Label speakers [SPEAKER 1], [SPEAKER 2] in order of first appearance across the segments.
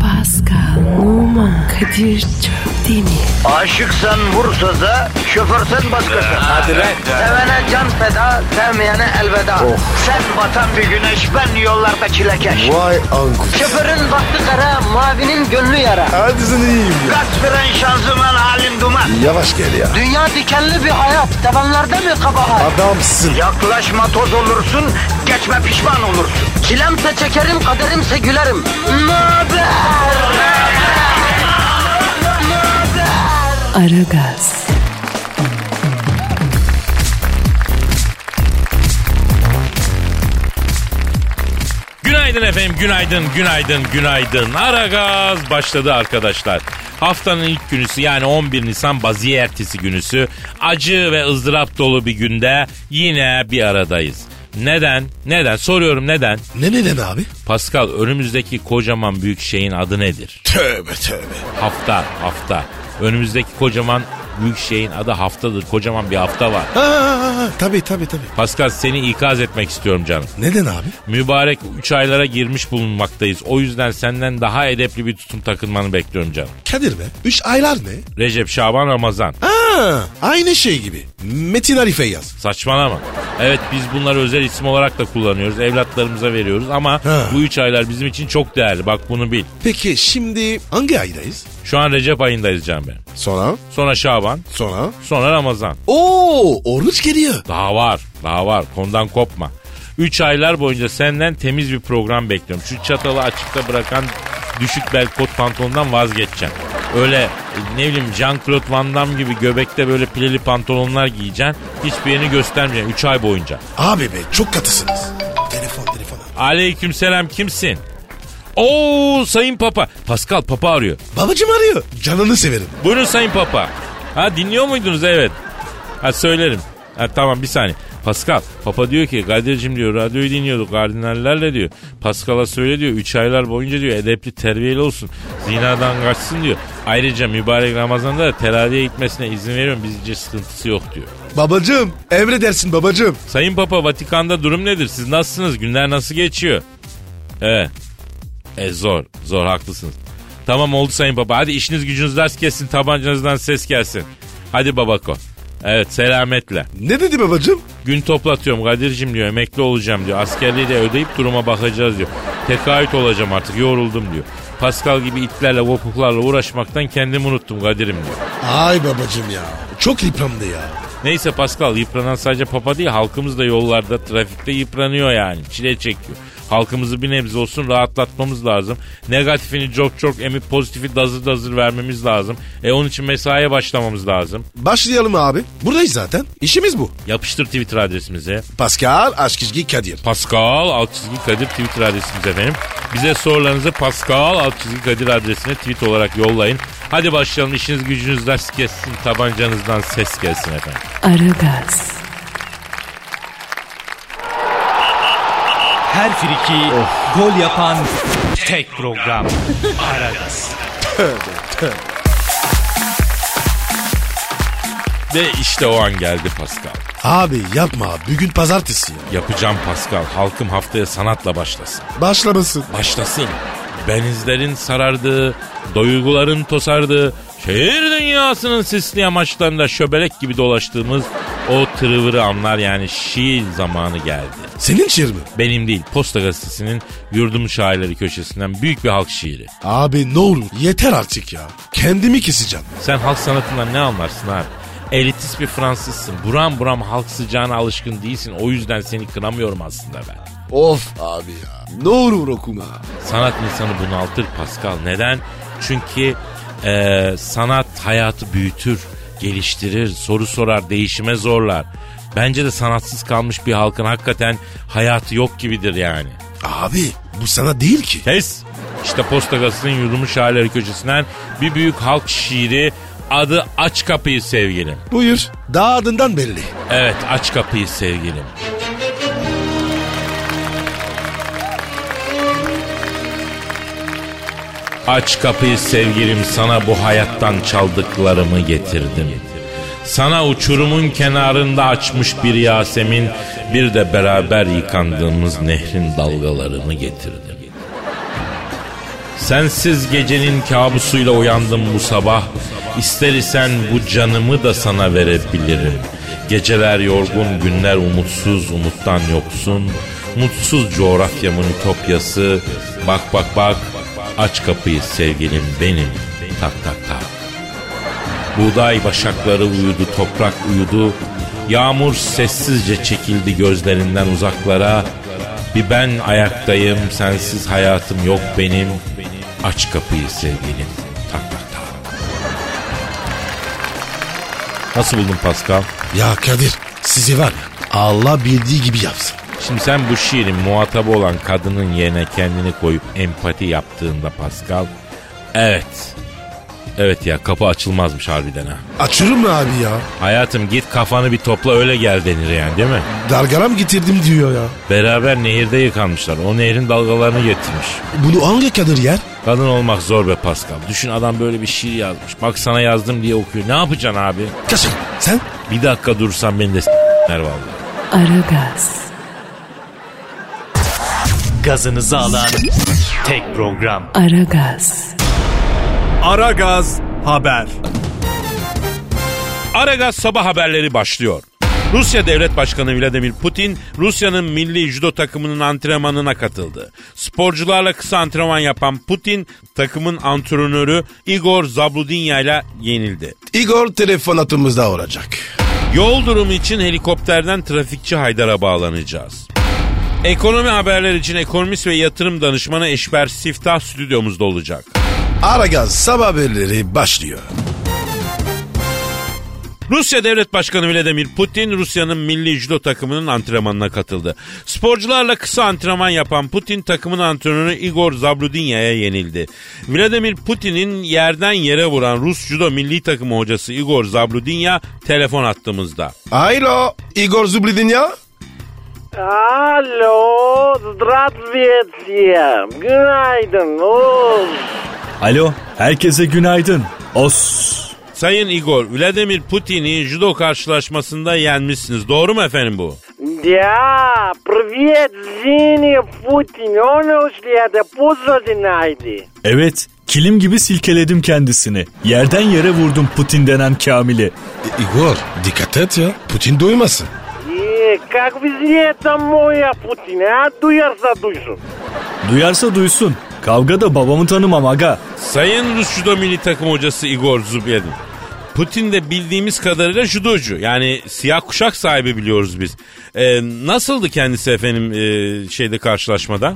[SPEAKER 1] Pascal, Oman, Kadir çok değil mi?
[SPEAKER 2] Aşıksan vursa da şoförsen başkasın.
[SPEAKER 3] Hadi lan. Oh.
[SPEAKER 2] Sevene can feda, sevmeyene elveda. Sen batan bir güneş, ben yollarda çilekeş.
[SPEAKER 4] Vay anku.
[SPEAKER 2] Şoförün baktı kara, mavinin gönlü yara.
[SPEAKER 4] Hadi sen iyiyim ya.
[SPEAKER 2] Kasperen şanzıman halin duman.
[SPEAKER 4] Yavaş gel ya.
[SPEAKER 2] Dünya dikenli bir hayat, sevenlerde mi kabahar?
[SPEAKER 4] Adamsın.
[SPEAKER 2] Yaklaşma toz olursun, geçme pişman olursun. Çilemse çekerim, kaderimse gülerim. Möber!
[SPEAKER 1] Aragaz,
[SPEAKER 3] Günaydın efendim, günaydın, günaydın, günaydın. Ara gaz başladı arkadaşlar. Haftanın ilk günüsü yani 11 Nisan baziye ertesi günüsü acı ve ızdırap dolu bir günde yine bir aradayız. Neden? Neden? Soruyorum neden?
[SPEAKER 4] Ne neden abi?
[SPEAKER 3] Pascal önümüzdeki kocaman büyük şeyin adı nedir?
[SPEAKER 4] Tövbe tövbe.
[SPEAKER 3] Hafta, hafta. Önümüzdeki kocaman büyük şeyin adı haftadır. Kocaman bir hafta var.
[SPEAKER 4] Aa, tabii tabii tabii.
[SPEAKER 3] Pascal seni ikaz etmek istiyorum canım.
[SPEAKER 4] Neden abi?
[SPEAKER 3] Mübarek 3 aylara girmiş bulunmaktayız. O yüzden senden daha edepli bir tutum takınmanı bekliyorum canım.
[SPEAKER 4] Kadir be. Üç aylar ne?
[SPEAKER 3] Recep, Şaban, Ramazan.
[SPEAKER 4] Ha, aynı şey gibi. Metin Arife yaz.
[SPEAKER 3] Saçmalama. Evet biz bunları özel isim olarak da kullanıyoruz. Evlatlarımıza veriyoruz ama
[SPEAKER 4] Ha.
[SPEAKER 3] bu 3 aylar bizim için çok değerli. Bak bunu bil.
[SPEAKER 4] Peki şimdi hangi aydayız?
[SPEAKER 3] Şu an Recep ayındayız canım benim.
[SPEAKER 4] Sonra?
[SPEAKER 3] Sonra Şaban,
[SPEAKER 4] Sonra?
[SPEAKER 3] sonra Ramazan.
[SPEAKER 4] Oo, oruç geliyor.
[SPEAKER 3] Daha var, daha var. Konudan kopma. 3 aylar boyunca senden temiz bir program bekliyorum. Şu çatalı açıkta bırakan düşük bel kot pantolondan vazgeçeceğim. Öyle ne bileyim Jean-Claude Van Damme gibi göbekte böyle pileli pantolonlar giyeceksin. Hiçbir yerini göstermeyeceksin 3 ay boyunca.
[SPEAKER 4] Abi be çok katısınız. Telefon telefon abi.
[SPEAKER 3] Aleykümselam kimsin? Oo Sayın Papa. Pascal Papa arıyor.
[SPEAKER 4] Babacım arıyor. Canını severim.
[SPEAKER 3] Buyurun Sayın Papa. Ha dinliyor muydunuz? Evet. Ha söylerim. Ha tamam bir saniye. Pascal, Papa diyor ki Kadir'cim diyor radyoyu dinliyorduk kardinallerle diyor. Pascal'a söyle diyor 3 aylar boyunca diyor edepli terbiyeli olsun. Zinadan kaçsın diyor. Ayrıca mübarek Ramazan'da da teraviye gitmesine izin veriyorum. Bizce sıkıntısı yok diyor.
[SPEAKER 4] Babacım emredersin babacım.
[SPEAKER 3] Sayın Papa Vatikan'da durum nedir? Siz nasılsınız? Günler nasıl geçiyor? Evet. E zor. Zor haklısınız. Tamam oldu Sayın Papa. Hadi işiniz gücünüz ders kesin. Tabancanızdan ses gelsin. Hadi babako. Evet selametle.
[SPEAKER 4] Ne dedi babacım?
[SPEAKER 3] Gün toplatıyorum Kadir'cim diyor. Emekli olacağım diyor. Askerliği de ödeyip duruma bakacağız diyor. Tekaüt olacağım artık yoruldum diyor. Pascal gibi itlerle kopuklarla uğraşmaktan kendimi unuttum Kadir'im diyor.
[SPEAKER 4] Ay babacım ya. Çok yıprandı ya.
[SPEAKER 3] Neyse Pascal yıpranan sadece papa değil halkımız da yollarda trafikte yıpranıyor yani çile çekiyor. Halkımızı bir nebze olsun rahatlatmamız lazım. Negatifini çok çok emip pozitifi dazır dazır vermemiz lazım. E onun için mesaiye başlamamız lazım.
[SPEAKER 4] Başlayalım abi. Buradayız zaten. İşimiz bu.
[SPEAKER 3] Yapıştır Twitter adresimize.
[SPEAKER 4] Pascal Aşkizgi Kadir.
[SPEAKER 3] Pascal alt çizgi Kadir Twitter adresimiz efendim. Bize sorularınızı Pascal alt çizgi Kadir adresine tweet olarak yollayın. Hadi başlayalım işiniz gücünüz ders kessin tabancanızdan ses gelsin efendim.
[SPEAKER 1] Aragaz,
[SPEAKER 5] Her friki gol yapan tek program. Aragaz.
[SPEAKER 3] Ve işte o an geldi Pascal.
[SPEAKER 4] Abi yapma. Bugün pazartesi ya.
[SPEAKER 3] Yapacağım Pascal. Halkım haftaya sanatla başlasın.
[SPEAKER 4] Başlamasın.
[SPEAKER 3] Başlasın. Benizlerin sarardığı, doyguların tosardığı, şehir dünyasının sisli yamaçlarında şöbelek gibi dolaştığımız o tırıvırı anlar yani şiir zamanı geldi.
[SPEAKER 4] Senin şiir mi?
[SPEAKER 3] Benim değil, Posta Gazetesi'nin yurdum şairleri köşesinden büyük bir halk şiiri.
[SPEAKER 4] Abi ne olur yeter artık ya. Kendimi keseceğim.
[SPEAKER 3] Sen halk sanatından ne anlarsın abi? Elitist bir Fransızsın. Buram buram halk sıcağına alışkın değilsin. O yüzden seni kınamıyorum aslında ben.
[SPEAKER 4] Of abi ya. Ne olur okuma.
[SPEAKER 3] Sanat insanı bunaltır Pascal. Neden? Çünkü e, sanat hayatı büyütür, geliştirir, soru sorar, değişime zorlar. Bence de sanatsız kalmış bir halkın hakikaten hayatı yok gibidir yani.
[SPEAKER 4] Abi bu sana değil ki.
[SPEAKER 3] Kes! İşte Posta Gazetesi'nin yurdumu şairleri köşesinden bir büyük halk şiiri adı Aç Kapıyı Sevgilim.
[SPEAKER 4] Buyur. Daha adından belli.
[SPEAKER 3] Evet aç kapıyı sevgilim. Aç kapıyı sevgilim sana bu hayattan çaldıklarımı getirdim. Sana uçurumun kenarında açmış bir Yasemin bir de beraber yıkandığımız nehrin dalgalarını getirdim. Sensiz gecenin kabusuyla uyandım bu sabah. İster isen bu canımı da sana verebilirim. Geceler yorgun, günler umutsuz, umuttan yoksun. Mutsuz coğrafyamın ütopyası. Bak bak bak, aç kapıyı sevgilim benim. Tak tak tak. Buğday başakları uyudu, toprak uyudu. Yağmur sessizce çekildi gözlerinden uzaklara. Bir ben ayaktayım, sensiz hayatım yok benim. Aç kapıyı sevgilim. Tak tak tak. Nasıl buldun Pascal?
[SPEAKER 4] Ya Kadir sizi var ya Allah bildiği gibi yapsın.
[SPEAKER 3] Şimdi sen bu şiirin muhatabı olan kadının yerine kendini koyup empati yaptığında Pascal. Evet. Evet ya kapı açılmazmış harbiden ha.
[SPEAKER 4] Açırım mı abi ya?
[SPEAKER 3] Hayatım git kafanı bir topla öyle gel denir yani değil mi?
[SPEAKER 4] Dargaram getirdim diyor ya.
[SPEAKER 3] Beraber nehirde yıkanmışlar. O nehrin dalgalarını getirmiş.
[SPEAKER 4] Bunu hangi Kadir yer?
[SPEAKER 3] Kadın olmak zor be Pascal. Düşün adam böyle bir şiir yazmış. Bak sana yazdım diye okuyor. Ne yapacaksın abi?
[SPEAKER 4] Kaçın sen?
[SPEAKER 3] Bir dakika dursan beni de s**ler vallahi.
[SPEAKER 1] Aragaz,
[SPEAKER 5] Gazınızı alan tek program.
[SPEAKER 1] Aragaz,
[SPEAKER 5] Ara Gaz Haber.
[SPEAKER 3] Aragaz sabah haberleri başlıyor. Rusya Devlet Başkanı Vladimir Putin, Rusya'nın milli judo takımının antrenmanına katıldı. Sporcularla kısa antrenman yapan Putin, takımın antrenörü Igor Zabludinya ile yenildi.
[SPEAKER 4] Igor telefon hattımızda olacak.
[SPEAKER 3] Yol durumu için helikopterden trafikçi Haydar'a bağlanacağız. Ekonomi haberler için ekonomist ve yatırım danışmanı Eşber Siftah stüdyomuzda olacak.
[SPEAKER 4] Aragaz sabah haberleri başlıyor.
[SPEAKER 3] Rusya Devlet Başkanı Vladimir Putin Rusya'nın milli judo takımının antrenmanına katıldı. Sporcularla kısa antrenman yapan Putin takımın antrenörü Igor Zabludinya'ya yenildi. Vladimir Putin'in yerden yere vuran Rus judo milli takımı hocası Igor Zabludinya telefon attığımızda.
[SPEAKER 4] Alo Igor Zubridin ya.
[SPEAKER 6] Alo, здравствуйте. Günaydın oğul.
[SPEAKER 7] Alo, herkese günaydın. Os.
[SPEAKER 3] Sayın Igor, Vladimir Putin'i judo karşılaşmasında yenmişsiniz. Doğru mu efendim bu?
[SPEAKER 6] Ya, привет, Zini Putin. Onu işledi, puzzle dinaydı.
[SPEAKER 7] Evet, kilim gibi silkeledim kendisini. Yerden yere vurdum Putin denen Kamil'i.
[SPEAKER 4] E, Igor dikkat et ya. Putin duymasın.
[SPEAKER 6] И как везде это моя Putin, а duyarsa duysun.
[SPEAKER 7] Duyarsa duysun. Kavga da babamı tanımam aga.
[SPEAKER 3] Sayın Rus judo milli takım hocası Igor Zubelin. Putin de bildiğimiz kadarıyla judocu. Yani siyah kuşak sahibi biliyoruz biz. Ee, nasıldı kendisi efendim e, şeyde karşılaşmada?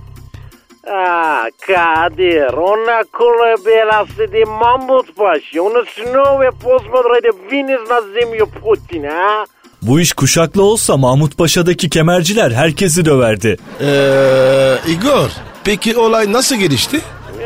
[SPEAKER 6] А, Kadir, ona kola belası di mamut başı. Onu snow ve pozmadrede viniz na zemlю Putin, ha?
[SPEAKER 7] Bu iş kuşaklı olsa Mahmut Paşa'daki kemerciler herkesi döverdi.
[SPEAKER 4] Ee, Igor peki olay nasıl gelişti?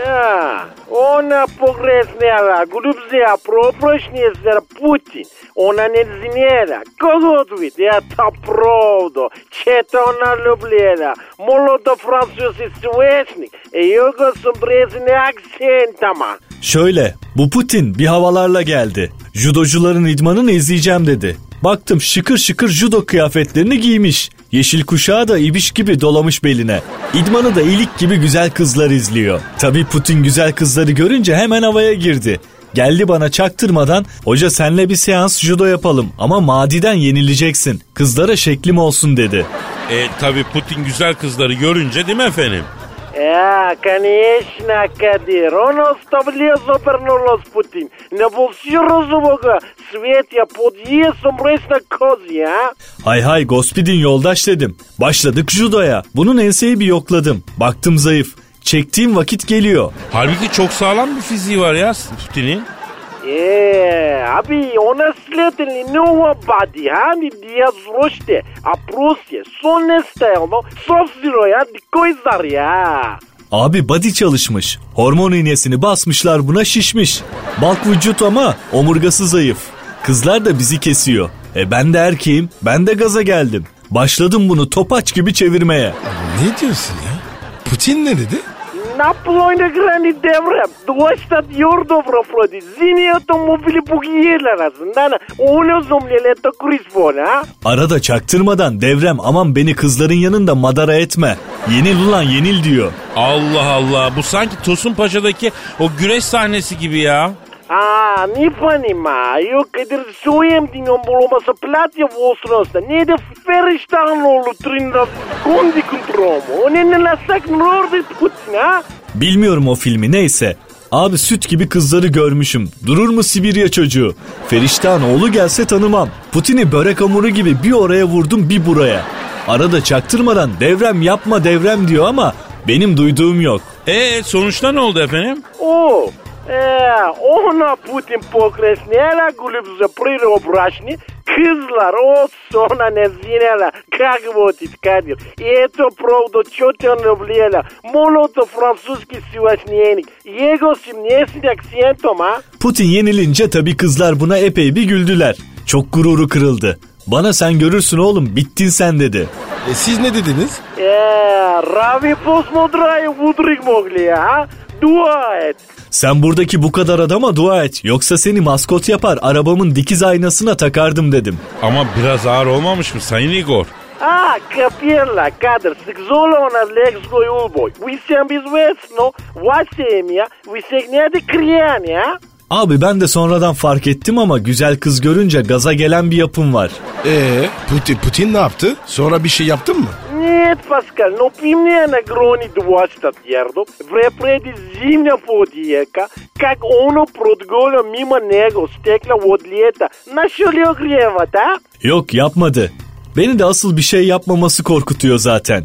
[SPEAKER 6] А, Она погрешнела, глупзия, пропрошнесера Путин. Она не знела, кого твит, это правда. Чето она да любила. Молодо французский свечник, и его с брезными акцентами.
[SPEAKER 7] Şöyle, bu Putin bir havalarla geldi. Judocuların idmanını izleyeceğim dedi. Baktım şıkır şıkır judo kıyafetlerini giymiş. Yeşil kuşağı da ibiş gibi dolamış beline. İdmanı da ilik gibi güzel kızlar izliyor. Tabii Putin güzel kızları görünce hemen havaya girdi. Geldi bana çaktırmadan hoca senle bir seans judo yapalım ama madiden yenileceksin. Kızlara şeklim olsun dedi.
[SPEAKER 3] E, tabii Putin güzel kızları görünce değil mi efendim?
[SPEAKER 6] А, конечно, Кадир, он оставлял завернулась Путин. Не был все разумного, свет я подъездом на козья, а?
[SPEAKER 7] Hay hay Gospidin yoldaş dedim. Başladık judoya. Bunun enseyi bir yokladım. Baktım zayıf. Çektiğim vakit geliyor.
[SPEAKER 3] Halbuki çok sağlam bir fiziği var ya Putin'in.
[SPEAKER 6] Е, аби, она следили нова бади, а ми дия зроште, а просте, со не стелно, собствено я, кой заря.
[SPEAKER 7] Abi body çalışmış. Hormon iğnesini basmışlar buna şişmiş. Balk vücut ama omurgası zayıf. Kızlar da bizi kesiyor. E ben de erkeğim. Ben de gaza geldim. Başladım bunu topaç gibi çevirmeye.
[SPEAKER 4] Ne diyorsun ya? Putin ne dedi?
[SPEAKER 6] Наплойна грани деврем, дуащат юрдо в Рафроди, зиният автомобили бугиелер azından, оно зомлеле то корисвоне, а?
[SPEAKER 7] Arada çaktırmadan devrem aman beni kızların yanında madara etme. Yenil ulan yenil diyor.
[SPEAKER 3] Allah Allah bu sanki Tosun Paşa'daki o güreş sahnesi gibi ya.
[SPEAKER 6] А, не понимаю, къдер суем ти ням болома са платя во осноста, не да ферещан олу тринда конди контромо, не не насак норди путин, а?
[SPEAKER 7] Bilmiyorum o filmi neyse. Abi süt gibi kızları görmüşüm. Durur mu Sibirya çocuğu? Feriştan oğlu gelse tanımam. Putin'i börek hamuru gibi bir oraya vurdum bir buraya. Arada çaktırmadan devrem yapma devrem diyor ama benim duyduğum yok.
[SPEAKER 3] E sonuçta ne oldu efendim?
[SPEAKER 6] О, е, она Путин покреснела, гулюб за природобрачни, кызлар, о, сона не зинела, как вот искадил. И это правда чётно влияла. Молото французский сегодняшник, его 17 акцентом, а?
[SPEAKER 7] Putin yenilince tabii kızlar buna epey bir güldüler. Çok gururu kırıldı. Bana sen görürsün oğlum bittin sen dedi.
[SPEAKER 4] E siz ne dediniz?
[SPEAKER 6] Е, рави посмотрай, удрик могли, а? Дуает.
[SPEAKER 7] Sen buradaki bu kadar adama dua et. Yoksa seni maskot yapar arabamın dikiz aynasına takardım dedim.
[SPEAKER 3] Ama biraz ağır olmamış mı Sayın Igor?
[SPEAKER 6] А, капирла, кадр, секзола на лекской улбой. Вы всем безвестно, вас семья, вы сегняты крияне, а?
[SPEAKER 7] Abi ben de sonradan fark ettim ama güzel kız görünce gaza gelen bir yapım var.
[SPEAKER 4] E Putin, Putin ne yaptı? Sonra bir şey yaptın mı?
[SPEAKER 6] Нет, Паскаль, но при мне на грони двадцать ярдов, врепреди зимня подиека, как оно продголо мимо него, стекла от лета, нашел ли огревать, а?
[SPEAKER 7] Yok yapmadı. Beni de asıl bir şey yapmaması korkutuyor zaten.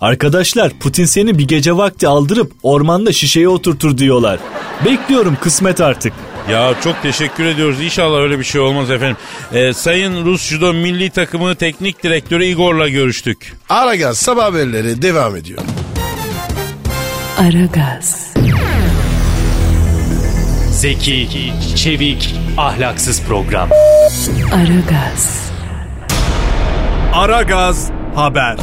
[SPEAKER 7] Arkadaşlar Putin seni bir gece vakti aldırıp ormanda şişeye oturtur diyorlar. Bekliyorum kısmet artık.
[SPEAKER 3] Ya çok teşekkür ediyoruz. İnşallah öyle bir şey olmaz efendim. E, Sayın Rus Judo Milli Takımı Teknik Direktörü Igor'la görüştük.
[SPEAKER 4] Aragaz sabah haberleri devam ediyor.
[SPEAKER 1] Aragaz,
[SPEAKER 5] Zeki, çevik, ahlaksız program.
[SPEAKER 1] Aragaz,
[SPEAKER 7] Ara Gaz Haber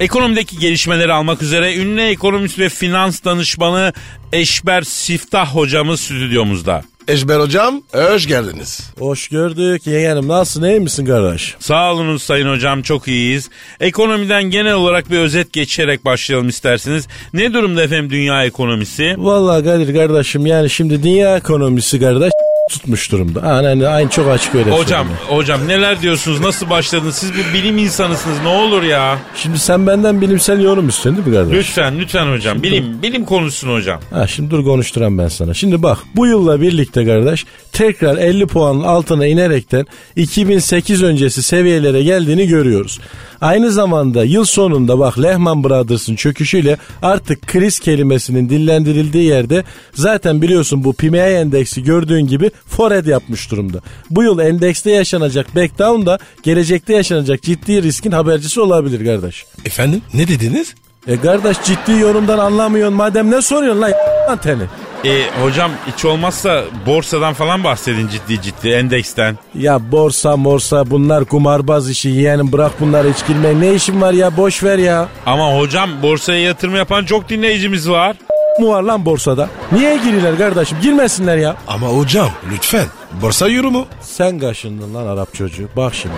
[SPEAKER 3] Ekonomideki gelişmeleri almak üzere ünlü ekonomist ve finans danışmanı Eşber Siftah hocamız stüdyomuzda.
[SPEAKER 4] Eşber hocam hoş geldiniz.
[SPEAKER 8] Hoş gördük yeğenim. Nasılsın iyi misin kardeş?
[SPEAKER 3] Sağ olunuz sayın hocam çok iyiyiz. Ekonomiden genel olarak bir özet geçerek başlayalım isterseniz. Ne durumda efendim dünya ekonomisi?
[SPEAKER 8] Vallahi Kadir kardeşim yani şimdi dünya ekonomisi kardeş tutmuş durumda. Aynen aynı, çok açık öyle
[SPEAKER 3] Hocam
[SPEAKER 8] söyleyeyim.
[SPEAKER 3] hocam neler diyorsunuz nasıl başladınız siz bir bilim insanısınız ne olur ya.
[SPEAKER 8] Şimdi sen benden bilimsel yorum istiyorsun değil mi kardeş?
[SPEAKER 3] Lütfen lütfen hocam bilim bilim konuşsun hocam.
[SPEAKER 8] Ha, şimdi dur konuşturan ben sana. Şimdi bak bu yılla birlikte kardeş tekrar 50 puanın altına inerekten 2008 öncesi seviyelere geldiğini görüyoruz. Aynı zamanda yıl sonunda bak Lehman Brothers'ın çöküşüyle artık kriz kelimesinin dillendirildiği yerde zaten biliyorsun bu PMI endeksi gördüğün gibi forehead yapmış durumda. Bu yıl endekste yaşanacak backdown da gelecekte yaşanacak ciddi riskin habercisi olabilir kardeş.
[SPEAKER 4] Efendim ne dediniz?
[SPEAKER 8] E kardeş ciddi yorumdan anlamıyorsun madem ne soruyorsun lan, lan teni.
[SPEAKER 3] E, hocam hiç olmazsa borsadan falan bahsedin ciddi ciddi endeksten.
[SPEAKER 8] Ya borsa morsa bunlar kumarbaz işi yeğenim bırak bunları hiç girmeyin. Ne işin var ya boş ver ya.
[SPEAKER 3] Ama hocam borsaya yatırım yapan çok dinleyicimiz var.
[SPEAKER 8] Mu var lan borsada? Niye giriyorlar kardeşim girmesinler ya.
[SPEAKER 4] Ama hocam lütfen borsa yorumu.
[SPEAKER 8] Sen kaşındın lan Arap çocuğu bak şimdi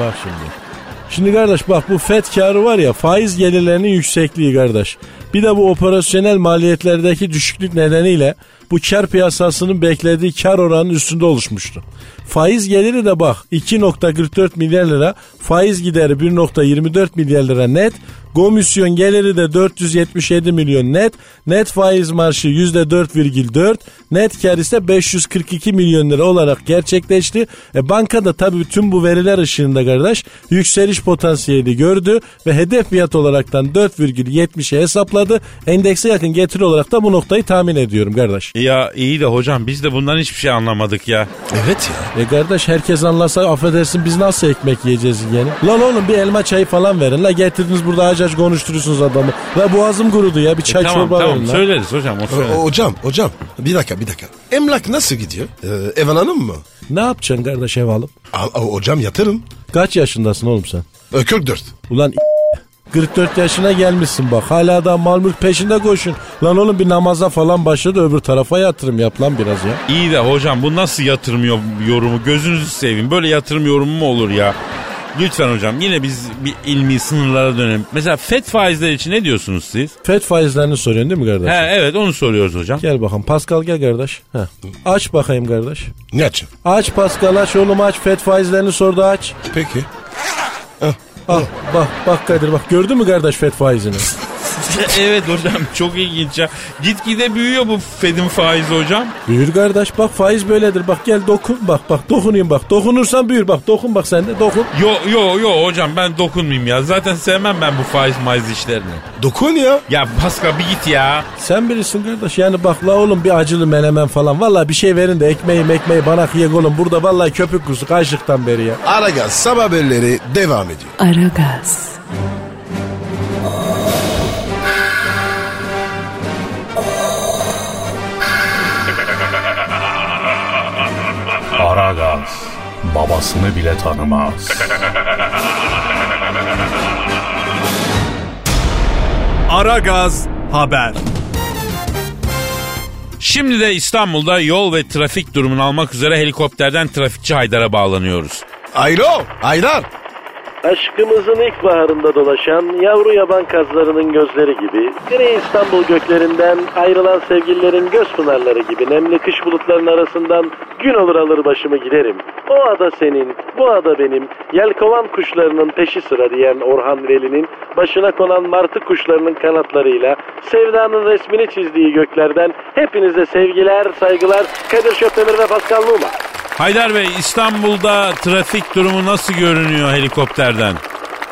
[SPEAKER 8] bak şimdi. Şimdi kardeş bak bu FED karı var ya faiz gelirlerinin yüksekliği kardeş. Bir de bu operasyonel maliyetlerdeki düşüklük nedeniyle bu kar piyasasının beklediği kar oranının üstünde oluşmuştu. Faiz geliri de bak 2.44 milyar lira, faiz gideri 1.24 milyar lira net, komisyon geliri de 477 milyon net, net faiz marşı %4,4, net kar ise 542 milyon lira olarak gerçekleşti. E bankada tabii tüm bu veriler ışığında kardeş yükseliş potansiyeli gördü ve hedef fiyat olaraktan 4,70'e hesapladı. Endekse yakın getiri olarak da bu noktayı tahmin ediyorum kardeş.
[SPEAKER 3] Ya iyi de hocam biz de bundan hiçbir şey anlamadık ya.
[SPEAKER 4] Evet ya.
[SPEAKER 8] E kardeş herkes anlasa affedersin biz nasıl ekmek yiyeceğiz yani? Lan oğlum bir elma çayı falan verin. La getirdiniz burada ağaç ağaç konuşturuyorsunuz adamı. La boğazım kurudu ya bir çay
[SPEAKER 3] E, tamam
[SPEAKER 8] çorba
[SPEAKER 3] tamam
[SPEAKER 8] verin la.
[SPEAKER 3] söyleriz hocam. O söyle.
[SPEAKER 4] O- hocam hocam bir dakika bir dakika. Emlak nasıl gidiyor? Ee, ev alalım mı?
[SPEAKER 8] Ne yapacaksın kardeş ev alıp?
[SPEAKER 4] Al, al- hocam yatırım.
[SPEAKER 8] Kaç yaşındasın oğlum sen?
[SPEAKER 4] Ee, 44.
[SPEAKER 8] Ulan 44 yaşına gelmişsin bak. Hala da mal mülk peşinde koşun. Lan oğlum bir namaza falan başla da öbür tarafa yatırım yap lan biraz ya.
[SPEAKER 3] İyi de hocam bu nasıl yatırım yo- yorumu gözünüzü seveyim. Böyle yatırım yorumu mu olur ya? Lütfen hocam yine biz bir ilmi sınırlara dönelim. Mesela FED faizleri için ne diyorsunuz siz?
[SPEAKER 8] FED faizlerini soruyorsun değil mi kardeş?
[SPEAKER 3] He evet onu soruyoruz hocam.
[SPEAKER 8] Gel bakalım Pascal gel kardeş. Heh. Aç bakayım kardeş.
[SPEAKER 4] Ne açın?
[SPEAKER 8] Aç Pascal aç oğlum aç FED faizlerini sordu aç.
[SPEAKER 4] Peki.
[SPEAKER 8] Al bak bak Kadir bak gördün mü kardeş FED faizini?
[SPEAKER 3] evet hocam çok ilginç ya. Gitgide büyüyor bu FED'in faizi hocam.
[SPEAKER 8] Büyür kardeş bak faiz böyledir bak gel dokun bak bak dokunayım bak dokunursan büyür bak dokun bak sen de dokun.
[SPEAKER 3] Yo yo yo hocam ben dokunmayayım ya. Zaten sevmem ben bu faiz maiz işlerini.
[SPEAKER 4] Dokun ya.
[SPEAKER 3] Ya Pascal bir git ya.
[SPEAKER 8] Sen birisin kardeş yani bak la oğlum bir acılı menemen falan valla bir şey verin de ekmeği ekmeği bana kıyak oğlum burada valla köpük kusuk açlıktan beri ya.
[SPEAKER 4] Aragaz sabah haberleri devam ediyor.
[SPEAKER 1] Aragaz,
[SPEAKER 9] Aragaz babasını bile tanımaz.
[SPEAKER 5] Aragaz haber.
[SPEAKER 3] Şimdi de İstanbul'da yol ve trafik durumunu almak üzere helikopterden trafikçi Haydar'a bağlanıyoruz.
[SPEAKER 4] Aylo. Aydar.
[SPEAKER 6] Aşkımızın ilkbaharında dolaşan yavru yaban kazlarının gözleri gibi, gri İstanbul göklerinden ayrılan sevgililerin göz pınarları gibi nemli kış bulutlarının arasından gün olur alır başımı giderim. O ada senin, bu ada benim, yelkovan kuşlarının peşi sıra diyen Orhan Veli'nin başına konan martı kuşlarının kanatlarıyla sevdanın resmini çizdiği göklerden hepinize sevgiler, saygılar, Kadir Şöpdemir ve Pascal Numa.
[SPEAKER 3] Haydar Bey İstanbul'da trafik durumu nasıl görünüyor helikopterden?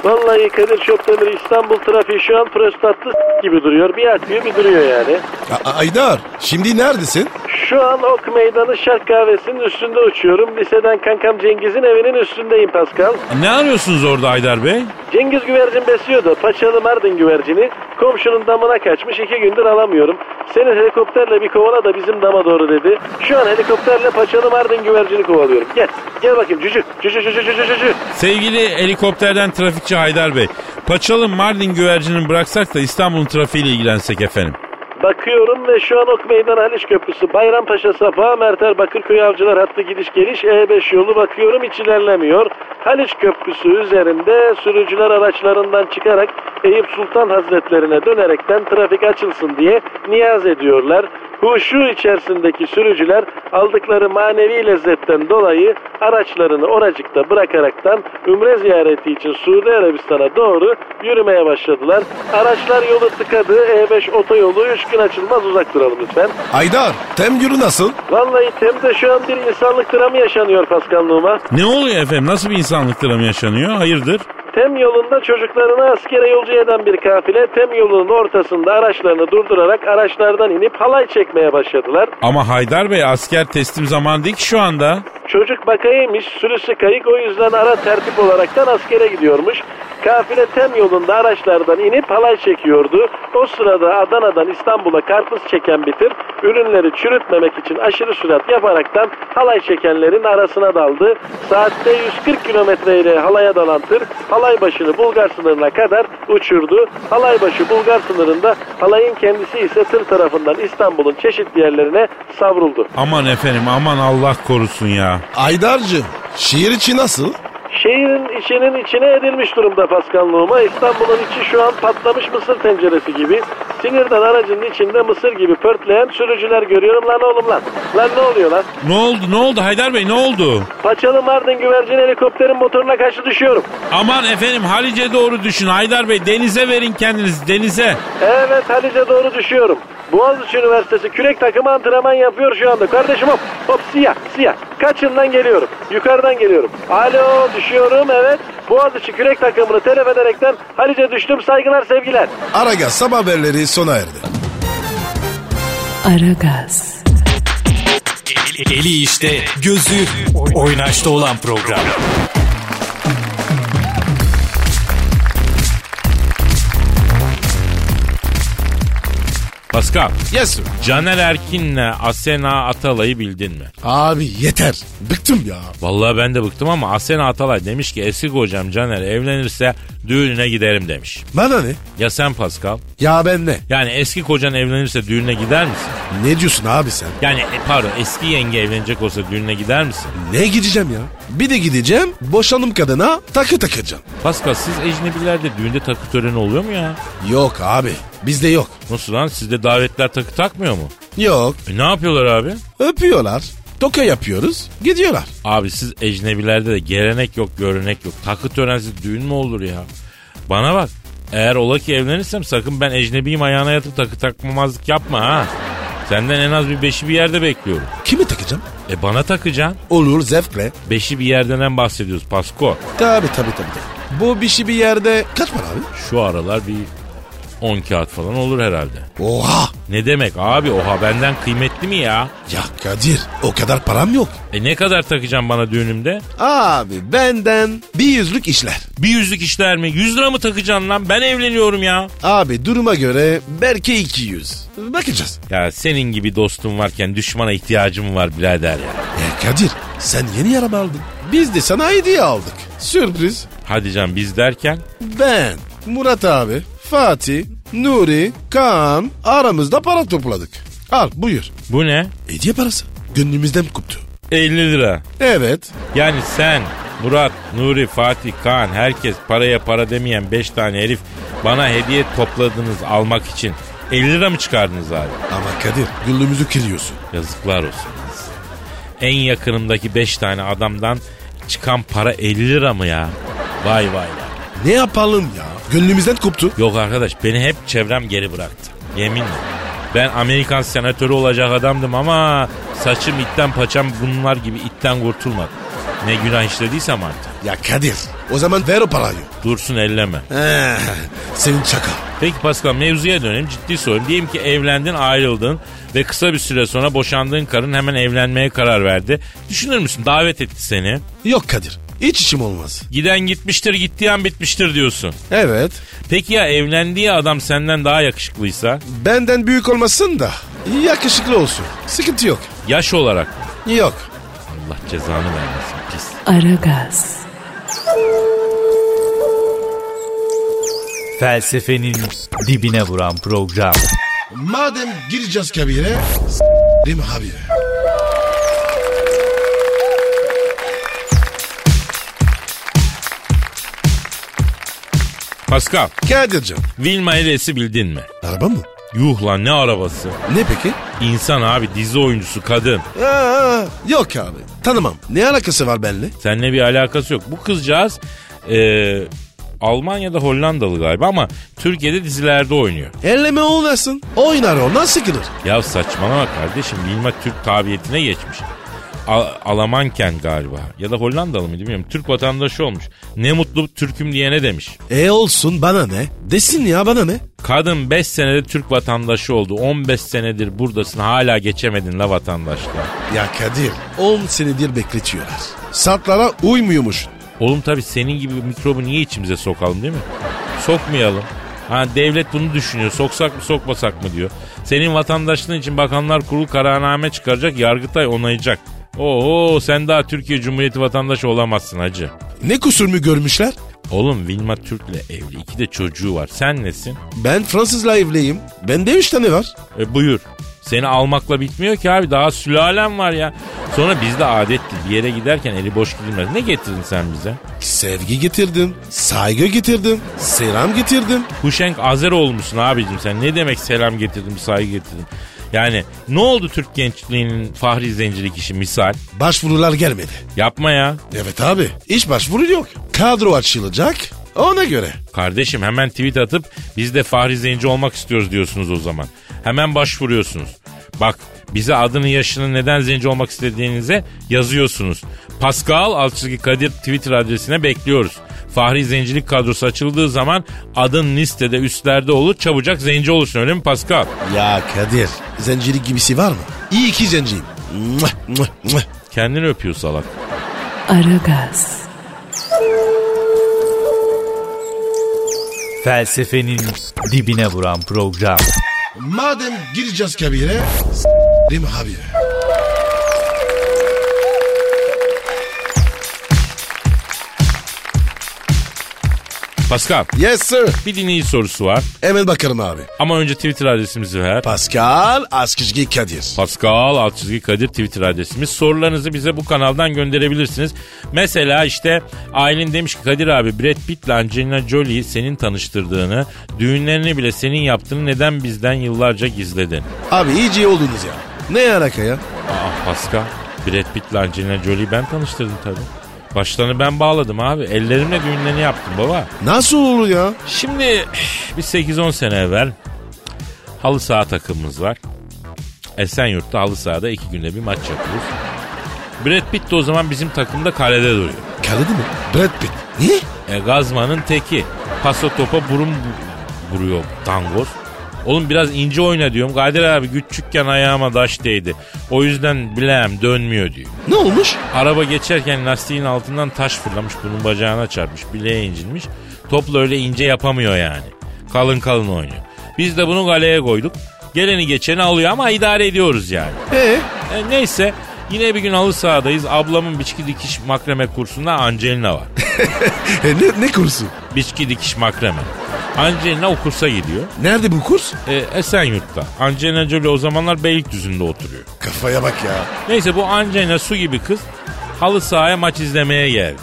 [SPEAKER 6] Vallahi Kadir Çöptemir İstanbul trafiği şu an prostatlı s- gibi duruyor. Bir akıyor bir duruyor yani.
[SPEAKER 4] A- A- Aydar. Şimdi neredesin?
[SPEAKER 6] Şu an Ok Meydanı Şark Kahvesi'nin üstünde uçuyorum. Liseden kankam Cengiz'in evinin üstündeyim Pascal.
[SPEAKER 3] Ne arıyorsunuz orada Haydar Bey?
[SPEAKER 6] Cengiz güvercin besliyordu. Paçalı Mardin güvercini. Komşunun damına kaçmış. iki gündür alamıyorum. Seni helikopterle bir kovala da bizim dama doğru dedi. Şu an helikopterle Paçalı Mardin güvercini kovalıyorum. Gel. Gel bakayım cücük. Cücük cücük cücük cücük.
[SPEAKER 3] Sevgili helikopterden trafikçi Haydar Bey. Paçalı Mardin güvercinini bıraksak da İstanbul'un trafiğiyle ilgilensek efendim.
[SPEAKER 6] Bakıyorum ve şu an Ok Meydan Haliç Köprüsü, Bayrampaşa Safa, Merter Bakırköy Avcılar hattı gidiş geliş E5 yolu bakıyorum hiç ilerlemiyor. Haliç Köprüsü üzerinde sürücüler araçlarından çıkarak Eyüp Sultan Hazretlerine dönerekten trafik açılsın diye niyaz ediyorlar. Huşu içerisindeki sürücüler aldıkları manevi lezzetten dolayı araçlarını oracıkta bırakaraktan ümre ziyareti için Suudi Arabistan'a doğru yürümeye başladılar. Araçlar yolu tıkadı. E5 otoyolu 3 gün açılmaz uzak duralım lütfen.
[SPEAKER 4] Aydar. Tem yürü nasıl?
[SPEAKER 6] Vallahi Tem'de şu an bir insanlık dramı yaşanıyor paskanlığıma.
[SPEAKER 3] Ne oluyor efendim? Nasıl bir insanlık dramı yaşanıyor? Hayırdır?
[SPEAKER 6] Tem yolunda çocuklarını askere yolcu eden bir kafile Tem yolunun ortasında araçlarını durdurarak araçlardan inip halay çekmeye başladılar.
[SPEAKER 3] Ama Haydar Bey asker teslim zamanı değil ki şu anda.
[SPEAKER 6] Çocuk bakaymış, sürüsü kayık o yüzden ara tertip olaraktan askere gidiyormuş. Kafile tem yolunda araçlardan inip halay çekiyordu. O sırada Adana'dan İstanbul'a karpuz çeken bitir, ürünleri çürütmemek için aşırı sürat yaparaktan halay çekenlerin arasına daldı. Saatte 140 kilometre ile halaya dalan tır, halay başını Bulgar sınırına kadar uçurdu. Halay başı Bulgar sınırında, halayın kendisi ise tır tarafından İstanbul'un çeşitli yerlerine savruldu.
[SPEAKER 3] Aman efendim aman Allah korusun ya.
[SPEAKER 4] Aydar'cığım. Şehir içi nasıl?
[SPEAKER 6] Şehrin içinin içine edilmiş durumda paskanlığıma. İstanbul'un içi şu an patlamış mısır tenceresi gibi. Sinirden aracın içinde mısır gibi pörtleyen sürücüler görüyorum lan oğlum lan. Lan ne oluyor lan?
[SPEAKER 3] Ne oldu ne oldu Haydar Bey ne oldu?
[SPEAKER 6] Paçalı Mardin güvercin helikopterin motoruna karşı düşüyorum.
[SPEAKER 3] Aman efendim Halice doğru düşün Haydar Bey denize verin kendinizi denize.
[SPEAKER 6] Evet Halice doğru düşüyorum. Boğaziçi Üniversitesi kürek takımı antrenman yapıyor şu anda. Kardeşim hop hop siyah siyah. Kaçından geliyorum. Yukarıdan geliyorum. Alo düşüyorum evet. Boğaziçi kürek takımını telef ederekten Halice düştüm saygılar sevgiler.
[SPEAKER 4] Aragaz sabah haberleri sona erdi.
[SPEAKER 1] Aragaz,
[SPEAKER 5] Eli, eli işte, gözü oynaşta olan program.
[SPEAKER 3] Pascal
[SPEAKER 4] Yes sir.
[SPEAKER 3] Caner Erkin'le Asena Atalay'ı bildin mi?
[SPEAKER 4] Abi yeter. Bıktım ya.
[SPEAKER 3] Vallahi ben de bıktım ama Asena Atalay demiş ki eski kocam Caner evlenirse düğününe giderim demiş.
[SPEAKER 4] Bana ne?
[SPEAKER 3] Ya sen Pascal?
[SPEAKER 4] Ya ben ne?
[SPEAKER 3] Yani eski kocan evlenirse düğüne gider misin?
[SPEAKER 4] Ne diyorsun abi sen?
[SPEAKER 3] Yani e, pardon eski yenge evlenecek olsa düğüne gider misin?
[SPEAKER 4] Ne gideceğim ya? Bir de gideceğim boşanım kadına takı takacağım.
[SPEAKER 3] Pascal siz ecnebilerde düğünde takı töreni oluyor mu ya?
[SPEAKER 4] Yok abi bizde yok.
[SPEAKER 3] Nasıl lan sizde davetler takı takmıyor mu?
[SPEAKER 4] Yok
[SPEAKER 3] E, ne yapıyorlar abi?
[SPEAKER 4] öpüyorlar. Toka yapıyoruz gidiyorlar.
[SPEAKER 3] Abi siz ecnebilerde de gelenek yok görenek yok. Takı törensiz düğün mü olur ya? Bana bak eğer ola ki evlenirsem sakın ben ecnebiyim ayağına yatıp takı takmamazlık yapma ha. Senden en az bir beşi bir yerde bekliyorum.
[SPEAKER 4] Kimi takacağım?
[SPEAKER 3] E bana takacaksın.
[SPEAKER 4] Olur zevkle.
[SPEAKER 3] Beşi bir yerden bahsediyoruz Pasko.
[SPEAKER 4] Tabi tabi tabi. Bu bir şey bir yerde kaç para abi?
[SPEAKER 3] Şu aralar bir 10 kağıt falan olur herhalde.
[SPEAKER 4] Oha!
[SPEAKER 3] Ne demek abi oha benden kıymetli mi ya?
[SPEAKER 4] Ya Kadir o kadar param yok.
[SPEAKER 3] E ne kadar takacağım bana düğünümde?
[SPEAKER 4] Abi benden bir yüzlük işler.
[SPEAKER 3] Bir yüzlük işler mi? Yüz lira mı takacaksın lan? Ben evleniyorum ya.
[SPEAKER 4] Abi duruma göre belki 200. Bakacağız.
[SPEAKER 3] Ya senin gibi dostum varken düşmana ihtiyacım var birader ya.
[SPEAKER 4] Ya E, Kadir sen yeni araba aldın. Biz de sana hediye aldık. Sürpriz.
[SPEAKER 3] Hadi can biz derken
[SPEAKER 4] Ben, Murat abi, Fatih, Nuri, Kaan aramızda para topladık. Al buyur.
[SPEAKER 3] bu ne?
[SPEAKER 4] Hediye parası. Gönlümüzden koptu.
[SPEAKER 3] 50 lira.
[SPEAKER 4] Evet.
[SPEAKER 3] Yani sen, Murat, Nuri, Fatih, Kaan herkes paraya para demeyen 5 tane herif bana hediye topladınız almak için. 50 lira mı çıkardınız abi?
[SPEAKER 4] Ama Kadir gönlümüzü kırıyorsun.
[SPEAKER 3] Yazıklar olsun. size. En yakınımdaki 5 tane adamdan çıkan para 50 lira mı ya? Vay vay vay.
[SPEAKER 4] Ne yapalım ya? Gönlümüzden koptu.
[SPEAKER 3] Yok arkadaş beni hep çevrem geri bıraktı. Yeminle. Ben Amerikan senatörü olacak adamdım ama saçım itten paçam bunlar gibi itten kurtulmadı. Ne günah işlediysem artık.
[SPEAKER 4] Ya Kadir o zaman ver o parayı.
[SPEAKER 3] Dursun elleme.
[SPEAKER 4] Eh, senin çaka.
[SPEAKER 3] Peki Pascal mevzuya dönelim ciddi sorayım. Diyelim ki evlendin ayrıldın ve kısa bir süre sonra boşandığın karın hemen evlenmeye karar verdi. Düşünür müsün davet etti seni.
[SPEAKER 4] Yok Kadir hiç işim olmaz.
[SPEAKER 3] Giden gitmiştir gittiği an bitmiştir diyorsun.
[SPEAKER 4] Evet.
[SPEAKER 3] Peki ya evlendiği adam senden daha yakışıklıysa?
[SPEAKER 4] Benden büyük olmasın da yakışıklı olsun. Sıkıntı yok.
[SPEAKER 3] Yaş olarak mı?
[SPEAKER 4] Yok.
[SPEAKER 3] Allah cezanı vermesin pis.
[SPEAKER 1] Aragaz,
[SPEAKER 5] Felsefenin dibine vuran program.
[SPEAKER 4] Madem gireceğiz kabire s**rim abi.
[SPEAKER 3] Pascal,
[SPEAKER 4] Kadir'cim.
[SPEAKER 3] Vilma Eres'i bildin mi?
[SPEAKER 4] Araba mı?
[SPEAKER 3] Yuh lan ne arabası?
[SPEAKER 4] Ne peki?
[SPEAKER 3] İnsan abi dizi oyuncusu kadın.
[SPEAKER 4] Aa, yok abi. Tanımam. Ne alakası var benimle?
[SPEAKER 3] Seninle bir alakası yok. Bu kızcağız e, Almanya'da Hollandalı galiba ama Türkiye'de dizilerde oynuyor.
[SPEAKER 4] Elleme oynasın. Oynar ondan sıkılır.
[SPEAKER 3] Ya saçmalama kardeşim Vilma Türk tabiyetine geçmiş. A- Alamanken galiba ya da Hollandalı mı bilmiyorum. Türk vatandaşı olmuş. Ne mutlu Türk'üm diyene demiş.
[SPEAKER 4] E olsun bana ne? Desin ya bana ne?
[SPEAKER 3] Kadın 5 senede Türk vatandaşı oldu. 15 senedir buradasın hala geçemedin la vatandaşlığa.
[SPEAKER 4] Ya Kadir 10 senedir bekletiyorlar. Saatlara uymuyormuş.
[SPEAKER 3] Oğlum tabii senin gibi bir mikrobu niye içimize sokalım değil mi? Sokmayalım. Ha devlet bunu düşünüyor. Soksak mı sokmasak mı diyor. Senin vatandaşlığın için bakanlar kurulu kararname çıkaracak. Yargıtay onayacak. Oo sen daha Türkiye Cumhuriyeti vatandaşı olamazsın hacı.
[SPEAKER 4] Ne kusur mu görmüşler?
[SPEAKER 3] Oğlum Vilma Türk'le evli. iki de çocuğu var. Sen nesin?
[SPEAKER 4] Ben Fransızla evliyim. Bende 3 tane var.
[SPEAKER 3] E buyur. Seni almakla bitmiyor ki abi. Daha sülalem var ya. Sonra bizde adettir. Bir yere giderken eli boş gidilmez. Ne getirdin sen bize?
[SPEAKER 4] Sevgi getirdim. Saygı getirdim. Selam getirdim.
[SPEAKER 3] Huşenk Azer olmuşsun abicim sen. Ne demek selam getirdin, saygı getirdin. Yani ne oldu Türk gençliğinin fahri zencilik işi misal?
[SPEAKER 4] Başvurular gelmedi.
[SPEAKER 3] Yapma ya.
[SPEAKER 4] Evet abi. Hiç başvuru yok. Kadro açılacak. Ona göre.
[SPEAKER 3] Kardeşim hemen tweet atıp biz de fahri zenci olmak istiyoruz diyorsunuz o zaman. Hemen başvuruyorsunuz. Bak bize adını yaşını neden zenci olmak istediğinize yazıyorsunuz. Pascal Alçızki Kadir Twitter adresine bekliyoruz. Fahri zencilik kadrosu açıldığı zaman adın listede üstlerde olur çabucak zenci olursun öyle mi Pascal?
[SPEAKER 4] Ya Kadir. Zencilik gibisi var mı? İyi ki zenciyim. Mwah, mwah, mwah.
[SPEAKER 3] Kendini öpüyor salak.
[SPEAKER 1] Aragaz,
[SPEAKER 5] Felsefenin dibine vuran program.
[SPEAKER 4] Madem gireceğiz kabire s**rim abi.
[SPEAKER 3] Pascal
[SPEAKER 4] Yes sir.
[SPEAKER 3] bir dinleyici sorusu var.
[SPEAKER 4] Hemen bakarım abi.
[SPEAKER 3] Ama önce Twitter adresimizi ver.
[SPEAKER 4] Pascal Askizgi Kadir.
[SPEAKER 3] Pascal alt çizgi Kadir Twitter adresimiz. Sorularınızı bize bu kanaldan gönderebilirsiniz. Mesela işte Aylin demiş ki Kadir abi Brad Pitt'le Angelina Jolie'yi senin tanıştırdığını, düğünlerini bile senin yaptığını neden bizden yıllarca gizledin?
[SPEAKER 4] Abi iyice iyi oldunuz ya. Ne alaka ya?
[SPEAKER 3] Aa Pascal, Brad Pitt'le Angelina Jolie'yi ben tanıştırdım tabii. Başlarını ben bağladım abi. Ellerimle düğünlerini yaptım baba.
[SPEAKER 4] Nasıl olur ya?
[SPEAKER 3] Şimdi bir 8-10 sene evvel halı saha takımımız var. Esenyurt'ta halı sahada iki günde bir maç yapıyoruz. Brad Pitt de o zaman bizim takımda kalede duruyor.
[SPEAKER 4] Kaledi mi? Brad Pitt. Niye?
[SPEAKER 3] E, Gazman'ın teki. Paso topa burun bu- vuruyor tangoz. Oğlum biraz ince oyna diyorum. Kadir abi küçükken ayağıma daş değdi. O yüzden bileğim dönmüyor diyor.
[SPEAKER 4] Ne olmuş?
[SPEAKER 3] Araba geçerken lastiğin altından taş fırlamış bunun bacağına çarpmış bileğe incinmiş. Topla öyle ince yapamıyor yani. Kalın kalın oynuyor. Biz de bunu galeye koyduk. Geleni geçeni alıyor ama idare ediyoruz yani.
[SPEAKER 4] Ee?
[SPEAKER 3] E, neyse yine bir gün halı sahadayız. Ablamın biçki dikiş makreme kursunda Angelina var.
[SPEAKER 4] E, ne, ne kursu?
[SPEAKER 3] biçki dikiş makreme. Angelina o kursa gidiyor.
[SPEAKER 4] Nerede bu kurs?
[SPEAKER 3] E, Esenyurt'ta. Angelina Jolie o zamanlar Beylikdüzü'nde oturuyor.
[SPEAKER 4] Kafaya bak ya.
[SPEAKER 3] Neyse bu Angelina su gibi kız halı sahaya maç izlemeye geldi.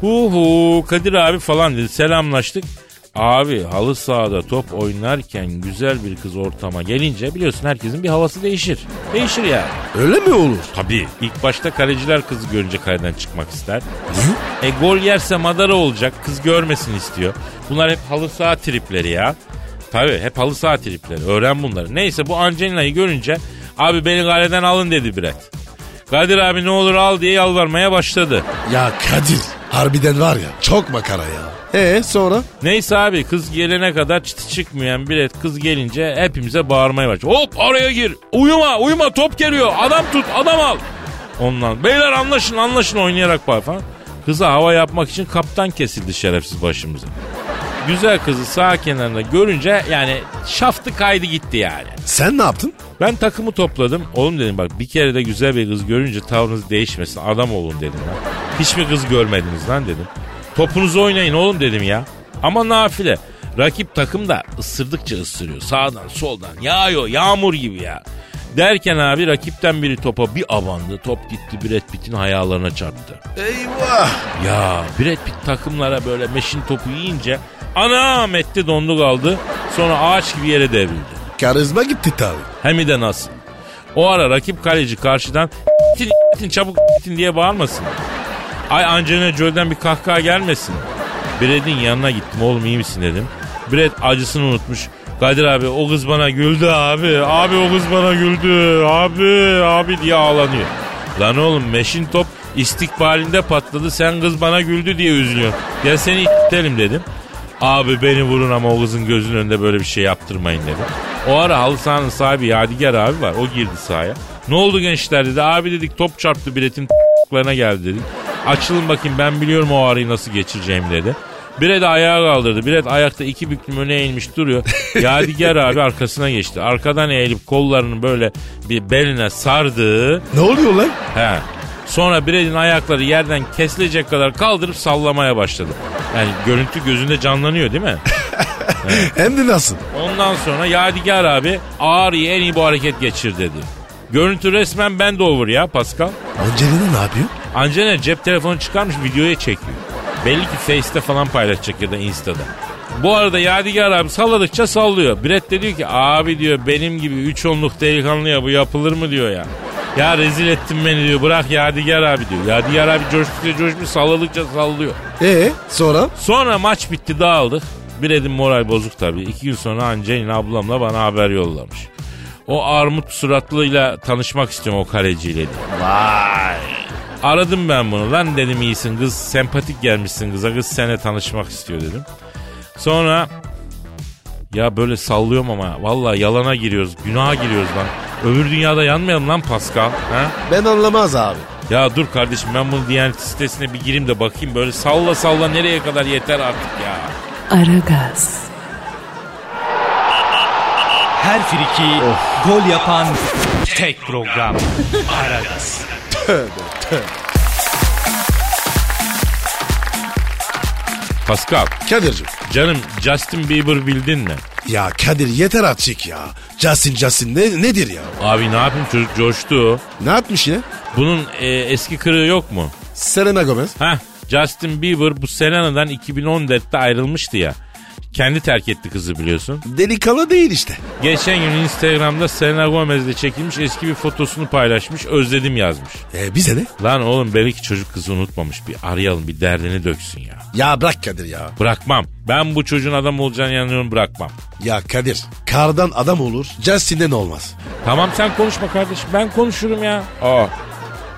[SPEAKER 3] Hu hu Kadir abi falan dedi selamlaştık. Abi halı sahada top oynarken güzel bir kız ortama gelince biliyorsun herkesin bir havası değişir. Değişir yani.
[SPEAKER 4] Öyle mi olur?
[SPEAKER 3] Tabii. İlk başta kaleciler kızı görünce kaleden çıkmak ister. E gol yerse madara olacak. Kız görmesin istiyor. Bunlar hep halı saha tripleri ya. Tabii hep halı saha tripleri. Öğren bunları. Neyse bu Angelina'yı görünce abi beni galeden alın dedi Brett. Kadir abi ne olur al diye yalvarmaya başladı.
[SPEAKER 4] Ya Kadir. Harbiden var ya. Çok makara ya. Ee sonra?
[SPEAKER 3] Neyse abi kız gelene kadar çıtı çıkmayan bilet kız gelince hepimize bağırmaya başladı. Hop araya gir. Uyuma uyuma top geliyor. Adam tut adam al. Ondan beyler anlaşın anlaşın oynayarak bağır falan. Kıza hava yapmak için kaptan kesildi şerefsiz başımıza. Güzel kızı sağ kenarında görünce yani şaftı kaydı gitti yani.
[SPEAKER 4] Sen ne yaptın?
[SPEAKER 3] Ben takımı topladım. Oğlum dedim bak bir kere de güzel bir kız görünce tavrınız değişmesin. Adam olun dedim lan. Hiç mi kız görmediniz lan dedim. Topunuzu oynayın oğlum dedim ya. Ama nafile. Rakip takım da ısırdıkça ısırıyor. Sağdan soldan yağıyor yağmur gibi ya. Derken abi rakipten biri topa bir abandı. Top gitti Brad Pitt'in hayalarına çarptı.
[SPEAKER 4] Eyvah.
[SPEAKER 3] Ya Brad Pitt takımlara böyle meşin topu yiyince anam etti dondu kaldı. Sonra ağaç gibi yere devrildi.
[SPEAKER 4] Karizma gitti tabi.
[SPEAKER 3] Hem de nasıl? O ara rakip kaleci karşıdan "İtin, itin, çabuk itin" diye bağırmasın. Ay Angelina Jolie'den bir kahkaha gelmesin. Brad'in yanına gittim oğlum iyi misin dedim. Brad acısını unutmuş. Kadir abi o kız bana güldü abi. Abi o kız bana güldü. Abi abi diye ağlanıyor. Lan oğlum meşin top istikbalinde patladı. Sen kız bana güldü diye üzülüyorsun. Ya seni itelim dedim. Abi beni vurun ama o kızın gözünün önünde böyle bir şey yaptırmayın dedim. O ara halı sahanın sahibi Yadigar abi var. O girdi sahaya. Ne oldu gençler dedi. Abi dedik top çarptı biletin ***larına geldi dedik. Açılın bakayım ben biliyorum o ağrıyı nasıl geçireceğim dedi. Biret ayağa kaldırdı. Biret ayakta iki büklüm öne eğilmiş duruyor. Yadigar abi arkasına geçti. Arkadan eğilip kollarını böyle bir beline sardı.
[SPEAKER 4] Ne oluyor lan?
[SPEAKER 3] He. Sonra Brad'in ayakları yerden kesilecek kadar kaldırıp sallamaya başladı. Yani görüntü gözünde canlanıyor değil mi?
[SPEAKER 4] Hem de nasıl?
[SPEAKER 3] Ondan sonra Yadigar abi ağrıyı en iyi bu hareket geçir dedi. Görüntü resmen bend over ya Pascal.
[SPEAKER 4] Angelina ne yapıyor?
[SPEAKER 3] Angelina cep telefonu çıkarmış videoya çekiyor. Belli ki Face'te falan paylaşacak ya da Insta'da. Bu arada Yadigar abi salladıkça sallıyor. Brett de diyor ki abi diyor benim gibi üç onluk delikanlıya bu yapılır mı diyor ya. Ya rezil ettin beni diyor bırak Yadigar abi diyor. Yadigar abi coştukça coşmuş salladıkça sallıyor.
[SPEAKER 4] Ee sonra?
[SPEAKER 3] Sonra maç bitti dağıldık. Brett'in moral bozuk tabii. İki gün sonra Angelina ablamla bana haber yollamış. O armut suratlıyla tanışmak istiyorum o kaleciyle diye. Aradım ben bunu. Lan dedim iyisin kız sempatik gelmişsin kıza. Kız seninle tanışmak istiyor dedim. Sonra ya böyle sallıyorum ama vallahi yalana giriyoruz. Günaha giriyoruz lan. Öbür dünyada yanmayalım lan Pascal. Ha?
[SPEAKER 4] Ben anlamaz abi.
[SPEAKER 3] Ya dur kardeşim ben bunu Diyanet sitesine bir gireyim de bakayım. Böyle salla salla nereye kadar yeter artık ya.
[SPEAKER 1] Aragaz,
[SPEAKER 5] Her friki gol yapan tek program. Aragaz.
[SPEAKER 3] Pascal
[SPEAKER 4] Kadir'cim.
[SPEAKER 3] canım Justin Bieber bildin mi?
[SPEAKER 4] Ya Kadir yeter artık ya. Justin Justin ne, nedir ya?
[SPEAKER 3] Abi ne yapayım çocuk coştu.
[SPEAKER 4] Ne yapmış yine?
[SPEAKER 3] Bunun e, eski kırığı yok mu?
[SPEAKER 4] Selena Gomez.
[SPEAKER 3] Hah Justin Bieber bu Selena'dan 2014'te ayrılmıştı ya. Kendi terk etti kızı biliyorsun.
[SPEAKER 4] Delikalı değil işte.
[SPEAKER 3] Geçen gün Instagram'da Selena Gomez'le çekilmiş eski bir fotosunu paylaşmış. Özledim yazmış.
[SPEAKER 4] E, bize ne?
[SPEAKER 3] Lan oğlum belki çocuk kızı unutmamış. Bir arayalım bir derdini döksün ya.
[SPEAKER 4] Ya bırak Kadir ya.
[SPEAKER 3] Bırakmam. Ben bu çocuğun adam olacağını yanıyorum bırakmam.
[SPEAKER 4] Ya Kadir kardan adam olur Justin'den olmaz.
[SPEAKER 3] Tamam sen konuşma kardeşim ben konuşurum ya. Aa,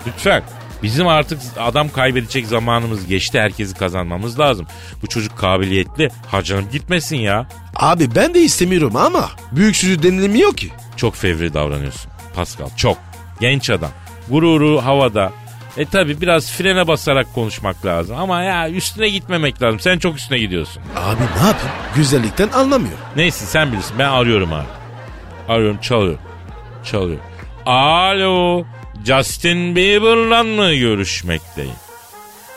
[SPEAKER 3] lütfen. Bizim artık adam kaybedecek zamanımız geçti. Herkesi kazanmamız lazım. Bu çocuk kabiliyetli. Harcanıp gitmesin ya.
[SPEAKER 4] Abi ben de istemiyorum ama büyük sürü denilmiyor ki.
[SPEAKER 3] Çok fevri davranıyorsun Pascal çok. Genç adam. Gururu havada. E tabi biraz frene basarak konuşmak lazım. Ama ya üstüne gitmemek lazım. Sen çok üstüne gidiyorsun.
[SPEAKER 4] Abi ne yapayım? Güzellikten anlamıyor.
[SPEAKER 3] Neyse sen bilirsin ben arıyorum abi. Arıyorum çalıyor. Çalıyor. Alo Justin Bieber'la mı görüşmekteyim?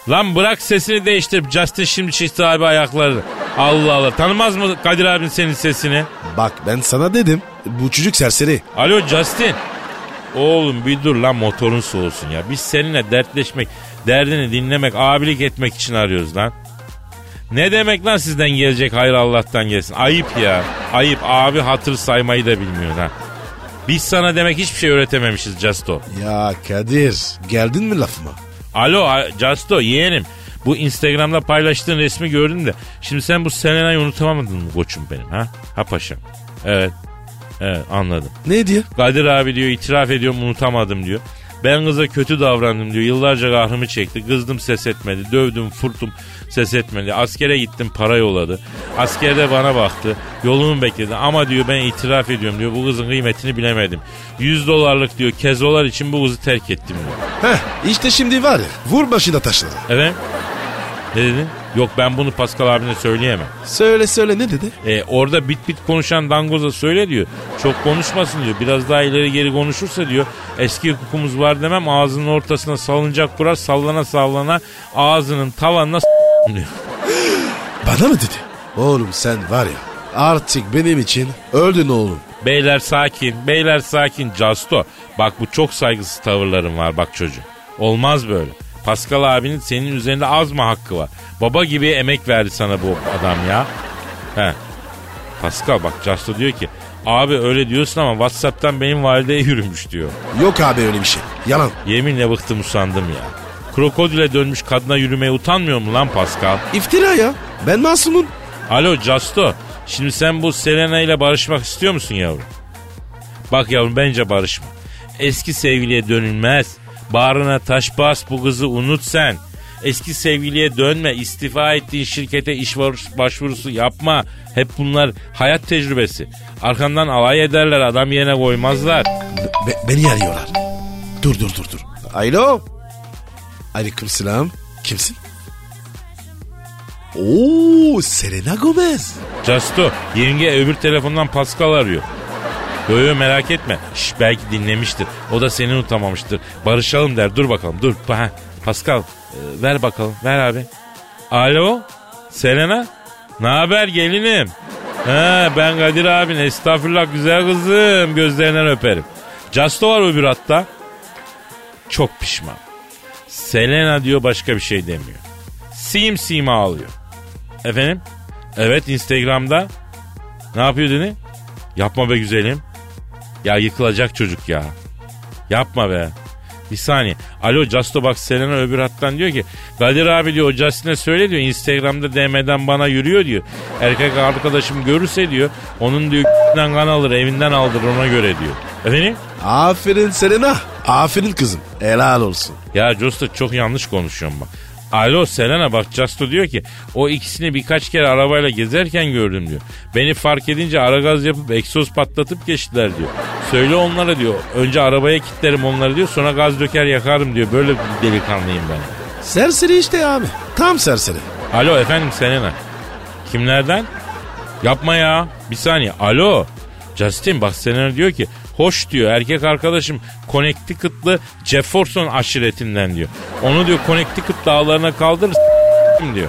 [SPEAKER 3] Lan bırak sesini değiştirip Justin şimdi çizdi abi ayakları. Allah Allah tanımaz mı Kadir abin senin sesini?
[SPEAKER 4] Bak ben sana dedim bu çocuk serseri.
[SPEAKER 3] Alo Justin. Oğlum bir dur lan motorun soğusun ya. Biz seninle dertleşmek, derdini dinlemek, abilik etmek için arıyoruz lan. Ne demek lan sizden gelecek hayır Allah'tan gelsin. Ayıp ya. Ayıp abi hatır saymayı da bilmiyor ha. Biz sana demek hiçbir şey öğretememişiz Justo.
[SPEAKER 4] Ya Kadir geldin mi lafıma?
[SPEAKER 3] Alo a- Justo yeğenim. Bu Instagram'da paylaştığın resmi gördüm de. Şimdi sen bu Selena'yı unutamadın mı koçum benim ha? Ha paşam. Evet. Evet anladım.
[SPEAKER 4] Ne diyor?
[SPEAKER 3] Kadir abi diyor itiraf ediyorum unutamadım diyor. Ben kıza kötü davrandım diyor. Yıllarca kahrımı çekti. Kızdım ses etmedi. Dövdüm fırtım ses etmedi. Askere gittim para yolladı. Askerde bana baktı. Yolumu bekledi. Ama diyor ben itiraf ediyorum diyor. Bu kızın kıymetini bilemedim. 100 dolarlık diyor kezolar için bu kızı terk ettim diyor.
[SPEAKER 4] Heh işte şimdi var ya vur başına taşları.
[SPEAKER 3] Evet. Ne dedin? Yok ben bunu Pascal abine söyleyemem.
[SPEAKER 4] Söyle söyle ne dedi?
[SPEAKER 3] E, orada bit bit konuşan dangoza söyle diyor. Çok konuşmasın diyor. Biraz daha ileri geri konuşursa diyor. Eski hukukumuz var demem ağzının ortasına salıncak kurar sallana sallana ağzının tavanına s- diyor.
[SPEAKER 4] Bana mı dedi? Oğlum sen var ya artık benim için öldün oğlum.
[SPEAKER 3] Beyler sakin, beyler sakin. Casto, bak bu çok saygısız tavırların var bak çocuğum. Olmaz böyle. Pascal abinin senin üzerinde az mı hakkı var? Baba gibi emek verdi sana bu adam ya. He. Pascal bak Casto diyor ki, abi öyle diyorsun ama Whatsapp'tan benim valideye yürümüş diyor.
[SPEAKER 4] Yok abi öyle bir şey. Yalan.
[SPEAKER 3] Yeminle bıktım usandım ya. Krokodile dönmüş kadına yürümeye utanmıyor mu lan Pascal?
[SPEAKER 4] İftira ya. Ben masumum.
[SPEAKER 3] Alo Justo. Şimdi sen bu Selena ile barışmak istiyor musun yavrum? Bak yavrum bence barışma. Eski sevgiliye dönülmez. Bağrına taş bas bu kızı unut sen. Eski sevgiliye dönme. istifa ettiğin şirkete iş var- başvurusu yapma. Hep bunlar hayat tecrübesi. Arkandan alay ederler adam yerine koymazlar.
[SPEAKER 4] Be- beni arıyorlar. Dur dur dur dur. Alo. Aleyküm selam. Kimsin? Oo Selena Gomez.
[SPEAKER 3] Casto yenge öbür telefondan Pascal arıyor. Yo yo merak etme. Şş, belki dinlemiştir. O da seni unutamamıştır. Barışalım der. Dur bakalım dur. Ha, Pascal e, ver bakalım. Ver abi. Alo Selena. Ne haber gelinim? He, ben Kadir abin. Estağfurullah güzel kızım. Gözlerinden öperim. Casto var öbür hatta. Çok pişman. Selena diyor başka bir şey demiyor. Sim sim ağlıyor. Efendim? Evet Instagram'da. Ne yapıyor dedi? Yapma be güzelim. Ya yıkılacak çocuk ya. Yapma be. Bir saniye. Alo Justo bak Selena öbür hattan diyor ki Kadir abi diyor o Justin'e söyle diyor Instagram'da DM'den bana yürüyor diyor. Erkek arkadaşım görürse diyor onun diyor "***'den kan alır evinden aldır ona göre diyor. Efendim?
[SPEAKER 4] Aferin Selena. Aferin kızım. Helal olsun.
[SPEAKER 3] Ya Justo çok yanlış konuşuyorum bak. Alo Selena bak Justo diyor ki o ikisini birkaç kere arabayla gezerken gördüm diyor. Beni fark edince ara gaz yapıp egzoz patlatıp geçtiler diyor. Söyle onlara diyor önce arabaya kilitlerim onları diyor sonra gaz döker yakarım diyor. Böyle bir delikanlıyım ben.
[SPEAKER 4] Serseri işte abi. Tam serseri.
[SPEAKER 3] Alo efendim Selena. Kimlerden? Yapma ya. Bir saniye. Alo. Justin bak Selena diyor ki hoş diyor erkek arkadaşım Connecticut'lı Jefferson aşiretinden diyor. Onu diyor Connecticut dağlarına kaldırır s- diyor.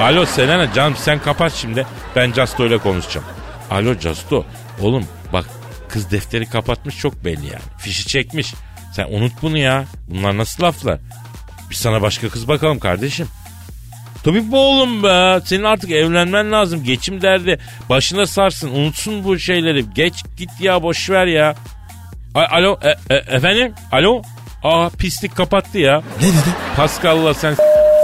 [SPEAKER 3] Alo Selena canım sen kapat şimdi. Ben Casto ile konuşacağım. Alo Casto. Oğlum bak kız defteri kapatmış çok belli yani. Fişi çekmiş. Sen unut bunu ya. Bunlar nasıl laflar? Biz sana başka kız bakalım kardeşim. Tabii bu oğlum be. Senin artık evlenmen lazım. Geçim derdi. Başına sarsın. Unutsun bu şeyleri. Geç git ya boş ver ya. A- Alo e- e- efendim? Alo? Aa pislik kapattı ya.
[SPEAKER 4] Ne dedi?
[SPEAKER 3] Pascal'la sen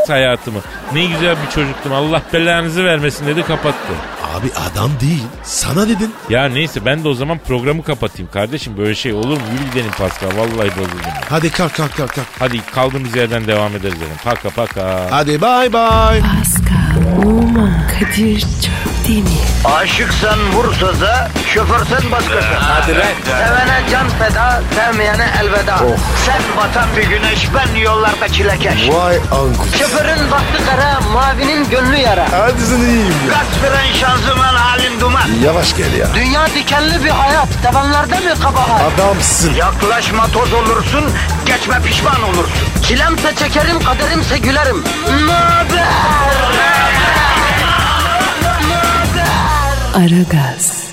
[SPEAKER 3] hayatımı. Ne güzel bir çocuktum. Allah belanızı vermesin dedi kapattı.
[SPEAKER 4] Abi adam değil. Sana dedin.
[SPEAKER 3] Ya neyse ben de o zaman programı kapatayım kardeşim. Böyle şey olur mu? Yürü gidelim Pascal. Vallahi bozuldum. ya.
[SPEAKER 4] Hadi kalk kalk kalk kalk.
[SPEAKER 3] Hadi kaldığımız yerden devam ederiz dedim. Paka paka.
[SPEAKER 4] Hadi bay bay.
[SPEAKER 1] Pascal, Oman, Kadir çok değil mi?
[SPEAKER 2] Aşıksan vursa da, şoförsen başkasın. Hadi Sevene can feda, sevmeyene elveda. Sen batan bir güneş, ben yollarda çilekeş.
[SPEAKER 4] Vay anku.
[SPEAKER 2] Şoförün baktı kara, mavinin gönlü yara.
[SPEAKER 4] Hadi sen iyiyim ya.
[SPEAKER 2] Kasperen şanzıman halin duman.
[SPEAKER 4] Yavaş gel ya.
[SPEAKER 2] Dünya dikenli bir hayat, sevenlerde mi kabahar?
[SPEAKER 4] Adamsın.
[SPEAKER 2] Yaklaşma toz olursun, geçme pişman olursun. Çilemse çekerim, kaderimse gülerim. Möber!
[SPEAKER 1] Aragaz.